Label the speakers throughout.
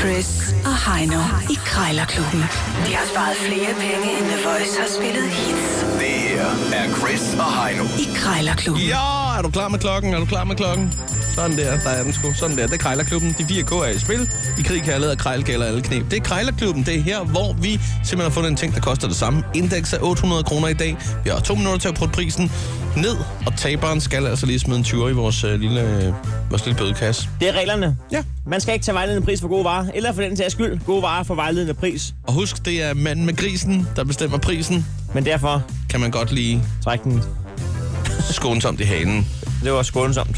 Speaker 1: Chris og Heino i Krejlerklubben. De har sparet flere penge, end The Voice har spillet hits
Speaker 2: Det her er Chris og Heino.
Speaker 1: i Krejlerklubben.
Speaker 3: Ja, er du klar med klokken? Er du klar med klokken? Sådan der, der er den sgu. Sådan der, det er Krejlerklubben. De fire K er i spil. I krig, kærlighed og krejl gælder alle knep. Det er Krejlerklubben. Det er her, hvor vi simpelthen har fundet en ting, der koster det samme. Indeks er 800 kroner i dag. Vi har to minutter til at putte prisen ned. Og taberen skal altså lige smide en 20 i vores, øh, lille, øh, vores lille bødekasse.
Speaker 4: Det er reglerne.
Speaker 3: Ja.
Speaker 4: Man skal ikke tage vejledende pris for gode varer, eller for den sags skyld, gode varer for vejledende pris.
Speaker 3: Og husk, det er manden med grisen, der bestemmer prisen.
Speaker 4: Men derfor,
Speaker 3: Kan man godt lige
Speaker 4: træk den.
Speaker 3: skånsomt i hanen.
Speaker 4: Det var skånsomt.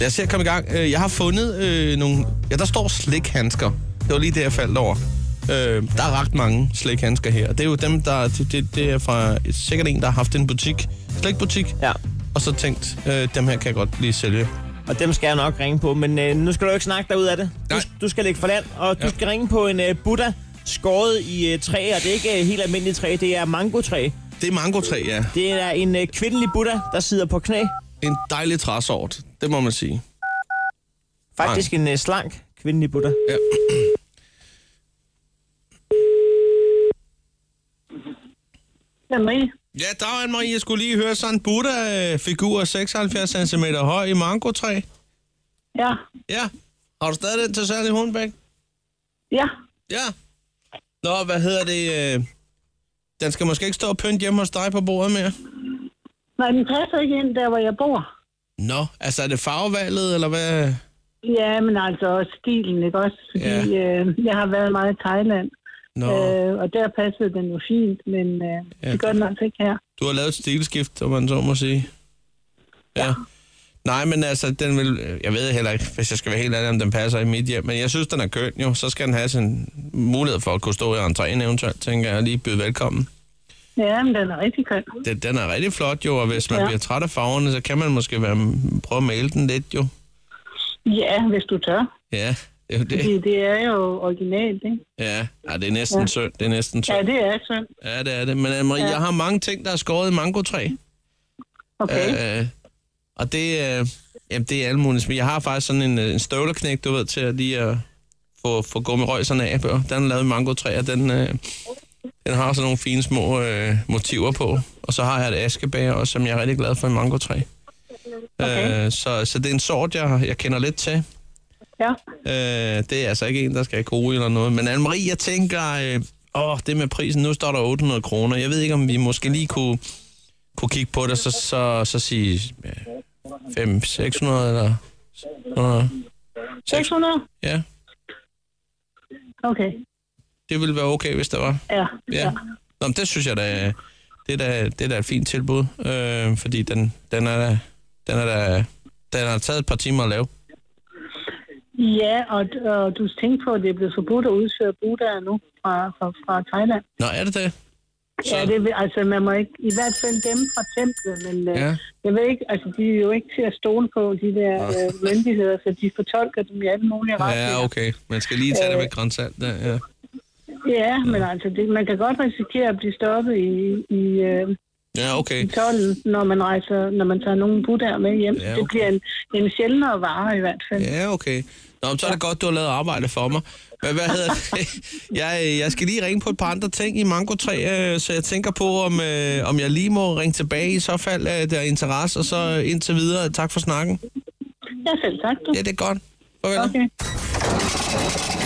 Speaker 3: Lad os se at komme i gang. Øh, Jeg har fundet øh, nogle... Ja, der står slikhandsker. Det var lige det, jeg faldt over. Øh, der er ret mange slikhandsker her. Det er jo dem, der... Det, det, det er fra sikkert en, der har haft en butik. Slikbutik.
Speaker 4: Ja.
Speaker 3: Og så tænkt, øh, dem her kan jeg godt lige sælge.
Speaker 4: Og dem skal jeg nok ringe på, men øh, nu skal du ikke snakke dig ud af det. Du,
Speaker 3: Nej.
Speaker 4: du skal ligge for land, og du
Speaker 3: Ja.
Speaker 4: skal ringe på en øh, Buddha skåret i øh, træ, og det er ikke øh, helt almindeligt træ, det er mangotræ.
Speaker 3: Det er mangotræ, ja.
Speaker 4: Det er en øh, kvindelig Buddha, der sidder på knæ.
Speaker 3: En dejlig træsort. Det må man sige.
Speaker 4: Faktisk en øh, slank kvindelig Buddha.
Speaker 3: Ja.
Speaker 5: Det er Marie.
Speaker 3: Ja, der er Marie. Jeg skulle lige høre sådan en Buddha-figur 76 cm høj i mangotræ.
Speaker 5: Ja.
Speaker 3: Ja. Har du stadig den til salg i Hornbæk?
Speaker 5: Ja.
Speaker 3: Ja. Nå, hvad hedder det? øh, Den skal måske ikke stå og pynte hjemme hos dig på bordet mere.
Speaker 5: Nej, den passer ikke ind der, hvor jeg bor.
Speaker 3: Nå, altså er det farvevalget, eller hvad?
Speaker 5: Ja, men altså også stilen, ikke også? Fordi ja. øh, jeg har været meget i Thailand,
Speaker 3: Nå,
Speaker 5: øh, og der passede den jo fint, men øh, ja. det gør den altså ikke her.
Speaker 3: du har lavet et stilskift, om man så må sige. Ja. Nej, men altså, den vil... Jeg ved heller ikke, hvis jeg skal være helt ærlig, om den passer i mit hjem. Men jeg synes, den er køn jo. Så skal den have sin mulighed for at kunne stå i entréen eventuelt, tænker jeg. og Lige byde velkommen.
Speaker 5: Ja, men den er rigtig køn.
Speaker 3: Den, den er rigtig flot jo, og hvis man ja.
Speaker 5: Ja.
Speaker 3: bliver træt af farverne, så kan man måske være, prøve at male den lidt jo.
Speaker 5: Ja, hvis du tør.
Speaker 3: Ja, det er jo det.
Speaker 5: Fordi det er jo originalt, ikke?
Speaker 3: Ja, ja det er næsten ja. synd. Det er næsten synd.
Speaker 5: Ja, det er synd.
Speaker 3: Ja, det er det. Men Anne-Marie, ja.
Speaker 5: Ja.
Speaker 3: jeg har mange ting, der er skåret i mangotræ.
Speaker 5: Okay. Øh.
Speaker 3: Øh, og det, øh, jamen, det er alle mulige. smil. Jeg har faktisk sådan en, øh, en støvleknæk, du ved, til at lige at få, få gummirøjserne af. Bør. Den er lavet i mangotræ, og den, øh, den har sådan nogle fine små øh, motiver på. Og så har jeg et askebær også, som jeg er rigtig glad for i mangotræ.
Speaker 5: Okay.
Speaker 3: Øh, så, så det er en sort, jeg, jeg kender lidt til.
Speaker 5: Ja.
Speaker 3: Øh, det er altså ikke en, der skal have kode eller noget. Men Anne-Marie, jeg tænker, øh, åh, det med prisen, nu står der 800 kroner. Jeg ved ikke, om vi måske lige kunne, kunne kigge på det, så, så, så sige øh, 5 600 eller sådan noget.
Speaker 5: 600?
Speaker 3: Ja,
Speaker 5: Okay.
Speaker 3: det ville være okay, hvis det var.
Speaker 5: Ja.
Speaker 3: Ja.
Speaker 5: ja.
Speaker 3: Nå, men det synes jeg da, det er da, det er da et fint tilbud, øh, fordi den, den er da, den er da, den har taget et par timer at lave.
Speaker 5: Ja, og, og du tænker på, at det er blevet forbudt at udføre buddhaer nu fra, fra, fra Thailand.
Speaker 3: Nå, er det det?
Speaker 5: Ja, det, vil- altså man må ikke, i hvert fald dem fra templet, men
Speaker 3: Ja.
Speaker 5: ja. jeg ved ikke, altså de er jo ikke til at stole på, de der øh, myndigheder, så de fortolker dem i alle mulige retninger.
Speaker 3: Ja, okay. Man skal lige tage det med grænsalt. Ja, ja.
Speaker 5: Ja, men altså det, man kan godt risikere at blive stoppet i, i, øh,
Speaker 3: ja
Speaker 5: i
Speaker 3: okay.
Speaker 5: tolden, når man rejser, når man tager nogle buddhaer med hjem.
Speaker 3: Ja,
Speaker 5: Det
Speaker 3: okay.
Speaker 5: bliver en, en sjældnere vare i hvert fald.
Speaker 3: Ja, okay. Nå, men så er det godt, du har lavet arbejde for mig. Men hvad hedder det? Jeg, øh, jeg skal lige ringe på et par andre ting i Mango 3, øh, så jeg tænker på, om, øh, om jeg lige må ringe tilbage i så fald, øh, der er interesse, og så øh, indtil videre. Tak for snakken.
Speaker 5: Ja, selv tak du.
Speaker 3: Ja, det er godt. Farvel. Okay.
Speaker 5: Okay.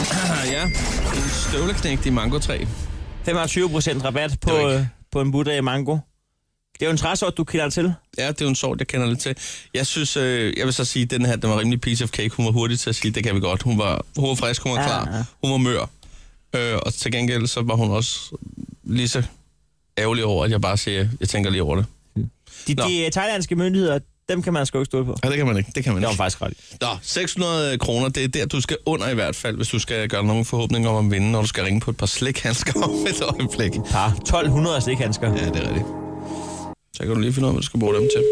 Speaker 3: Ja, en støvleknægt i Mango 3.
Speaker 4: 25 procent rabat på,
Speaker 3: Det var ikke-
Speaker 4: øh, på en Buddha i mango. Det er jo en træsort, du kender til.
Speaker 3: Ja, det er jo en sort, jeg kender lidt til. Jeg synes, øh, jeg vil så sige, at den her, den var rimelig piece of cake. Hun var hurtig til at sige, det kan vi godt. Hun var, hun var frisk, hun var
Speaker 4: Ja,
Speaker 3: klar,
Speaker 4: ja.
Speaker 3: hun var mør. Øh, og til gengæld, så var hun også lige så ærgerlig over, at jeg bare siger, jeg tænker lige over det.
Speaker 4: De,
Speaker 3: Nå.
Speaker 4: de øh, thailandske myndigheder, dem kan man sgu ikke stole på.
Speaker 3: Ja, det kan man ikke, det kan man
Speaker 4: Det var
Speaker 3: ikke.
Speaker 4: faktisk ret.
Speaker 3: Nå, 600 kroner, det er der, du skal under i hvert fald, hvis du skal gøre dig nogen forhåbninger om at vinde, når du skal ringe på et par slikhandsker om et øjeblik.
Speaker 4: Par 1200 slikhandsker.
Speaker 3: Ja, det er rigtigt. Så kan du lige finde ud af, hvad du skal bruge dem til.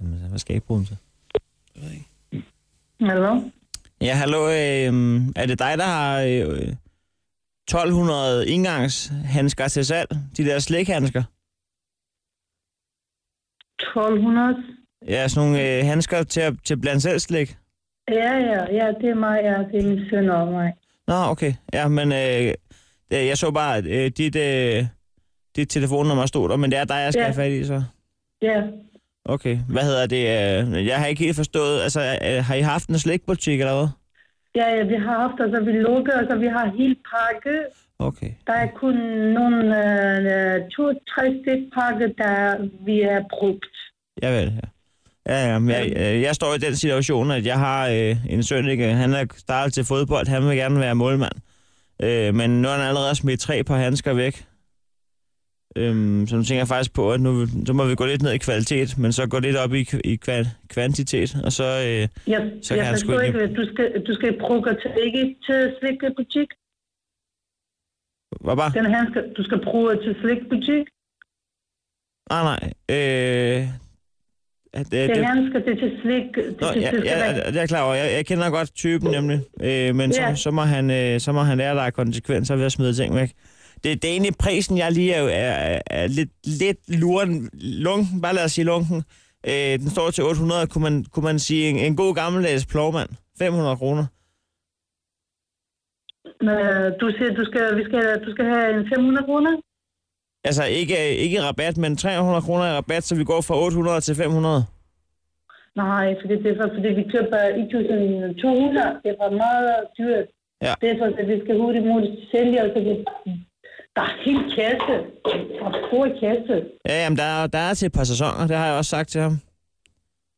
Speaker 4: Jamen, hvad skal jeg ikke bruge dem til?
Speaker 3: Jeg ved ikke.
Speaker 5: Hallo?
Speaker 4: Ja, hallo. Øh, er det dig, der har øh, 1200 indgangshandsker til salg? De der slikhandsker?
Speaker 5: 1200?
Speaker 4: Ja, sådan nogle øh, handsker til at, til at blande selv slik.
Speaker 5: Ja, ja, ja, det er mig, ja, det er min søn og mig.
Speaker 4: Nå, okay. Ja, men øh, det- jeg så bare, at øh, dit, øh, dit telefonnummer stod der, men det er dig, jeg skal
Speaker 5: Ja.
Speaker 4: have fat i, så.
Speaker 5: Ja,
Speaker 4: Okay, hvad hedder det? øh, Jeg har ikke helt forstået, altså øh, har I haft en slikbutik eller hvad?
Speaker 5: ja, ja vi har haft, altså vi lukker, altså vi har helt pakke.
Speaker 4: Okay.
Speaker 5: Der er kun nogle øh, to-tre stik pakke, der vi har brugt.
Speaker 4: Jeg ved det, ja. Ja, ja, men jeg, øh, jeg står i den situation, at jeg har øh, en søn, ikke? han er startet til fodbold, han vil gerne være målmand. Øh, men nu har han allerede smidt tre par handsker væk. Øhm, så nu tænker jeg faktisk på, at nu så må vi gå lidt ned i kvalitet, men så gå lidt op i, i kva- kvantitet, og så... Øh,
Speaker 5: Jeg,
Speaker 4: Så
Speaker 5: så
Speaker 4: kan
Speaker 5: jeg
Speaker 4: han sgu
Speaker 5: forstår
Speaker 4: ikke-
Speaker 5: ikke, at du skal, du skal bruge til ikke til slikbutik.
Speaker 4: hvad bare?
Speaker 5: Den her skal, du skal bruge til slikbutik.
Speaker 4: Nej, Ah, nej. Øh, at, øh,
Speaker 5: Den
Speaker 4: det,
Speaker 5: her skal det til slik. Det,
Speaker 4: Nå,
Speaker 5: til,
Speaker 4: ja,
Speaker 5: det skal
Speaker 4: ja,
Speaker 5: være-
Speaker 4: ja, det er jeg klar over. Jeg, jeg kender godt typen nemlig. Øh, men så,
Speaker 5: Ja.
Speaker 4: så, må han, øh, så må han lære, at der er konsekvenser ved at smide ting væk. Det, det er egentlig prisen, jeg lige er, er, er lidt, lidt luren. Lunken, bare lad os sige lunken. Øh, den står til 800, kunne man, kunne man sige en, en god gammeldags plovmand. 500 kroner.
Speaker 5: Øh, du siger, du skal, vi skal, du skal have en 500 kroner.
Speaker 4: Altså ikke, ikke rabat, men 300 kroner i rabat, så vi går fra 800 til 500.
Speaker 5: Nej, fordi det er for, fordi vi køber 1200. Det var meget dyrt.
Speaker 4: Ja.
Speaker 5: Det er for, at vi skal hurtigt muligt sælge, og så vi, der er helt kasse. Der er stor kasse.
Speaker 4: Ja, jamen, der, er- der er til et par sæsoner, det har jeg også sagt til ham.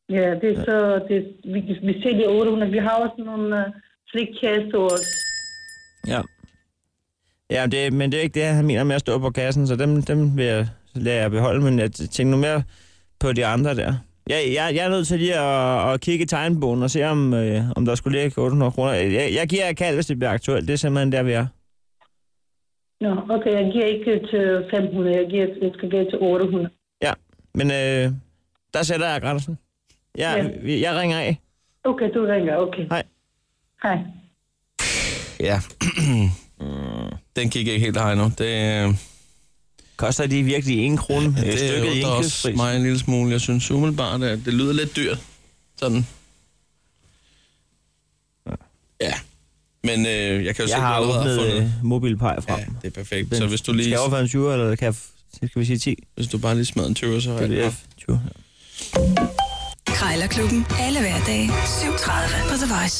Speaker 5: Ja, det er så, det, vi, vi sælger 800. Vi har også nogle uh, slikkasser også.
Speaker 4: Ja. Ja, det, men det er ikke det, han mener med at stå på kassen, så dem, dem vil jeg lade jeg beholde, men jeg tænker nu mere på de andre der. Jeg, jeg, jeg er nødt til lige at, at kigge i tegnbogen og se, om, øh, om der skulle ligge 800 kroner. Jeg, jeg giver jer kald, hvis det bliver aktuelt. Det er simpelthen der, vi er.
Speaker 5: Nå, okay, jeg giver ikke til 500, jeg, giver, jeg skal give til 800.
Speaker 4: Ja, men øh, der sætter jeg grænsen. Jeg,
Speaker 5: Ja.
Speaker 4: vi- jeg ringer af.
Speaker 5: Okay, du ringer, okay.
Speaker 4: Hej.
Speaker 5: Hej.
Speaker 3: Ja. Den gik ikke helt hej nu. Det, øh,
Speaker 4: Koster de virkelig en krone? Ja,
Speaker 3: det undrer også mig en lille smule. Jeg synes umiddelbart, at det lyder lidt dyrt. Sådan. Ja. Men øh, jeg kan jo se, at
Speaker 4: Jeg
Speaker 3: du
Speaker 4: har
Speaker 3: allerede har
Speaker 4: åbnet
Speaker 3: fundet...
Speaker 4: øh, mobilpej frem.
Speaker 3: Ja, det er perfekt. Så hvis du
Speaker 4: Skal
Speaker 3: lige,
Speaker 4: jeg overføre en 20, eller kan jeg, f- skal vi sige 10?
Speaker 3: hvis du bare lige smadrer en 20, så har
Speaker 4: Det
Speaker 3: jeg
Speaker 4: er
Speaker 3: det.
Speaker 4: 20, ja.
Speaker 1: Krejlerklubben. Alle hverdage. 7.30 på The Voice.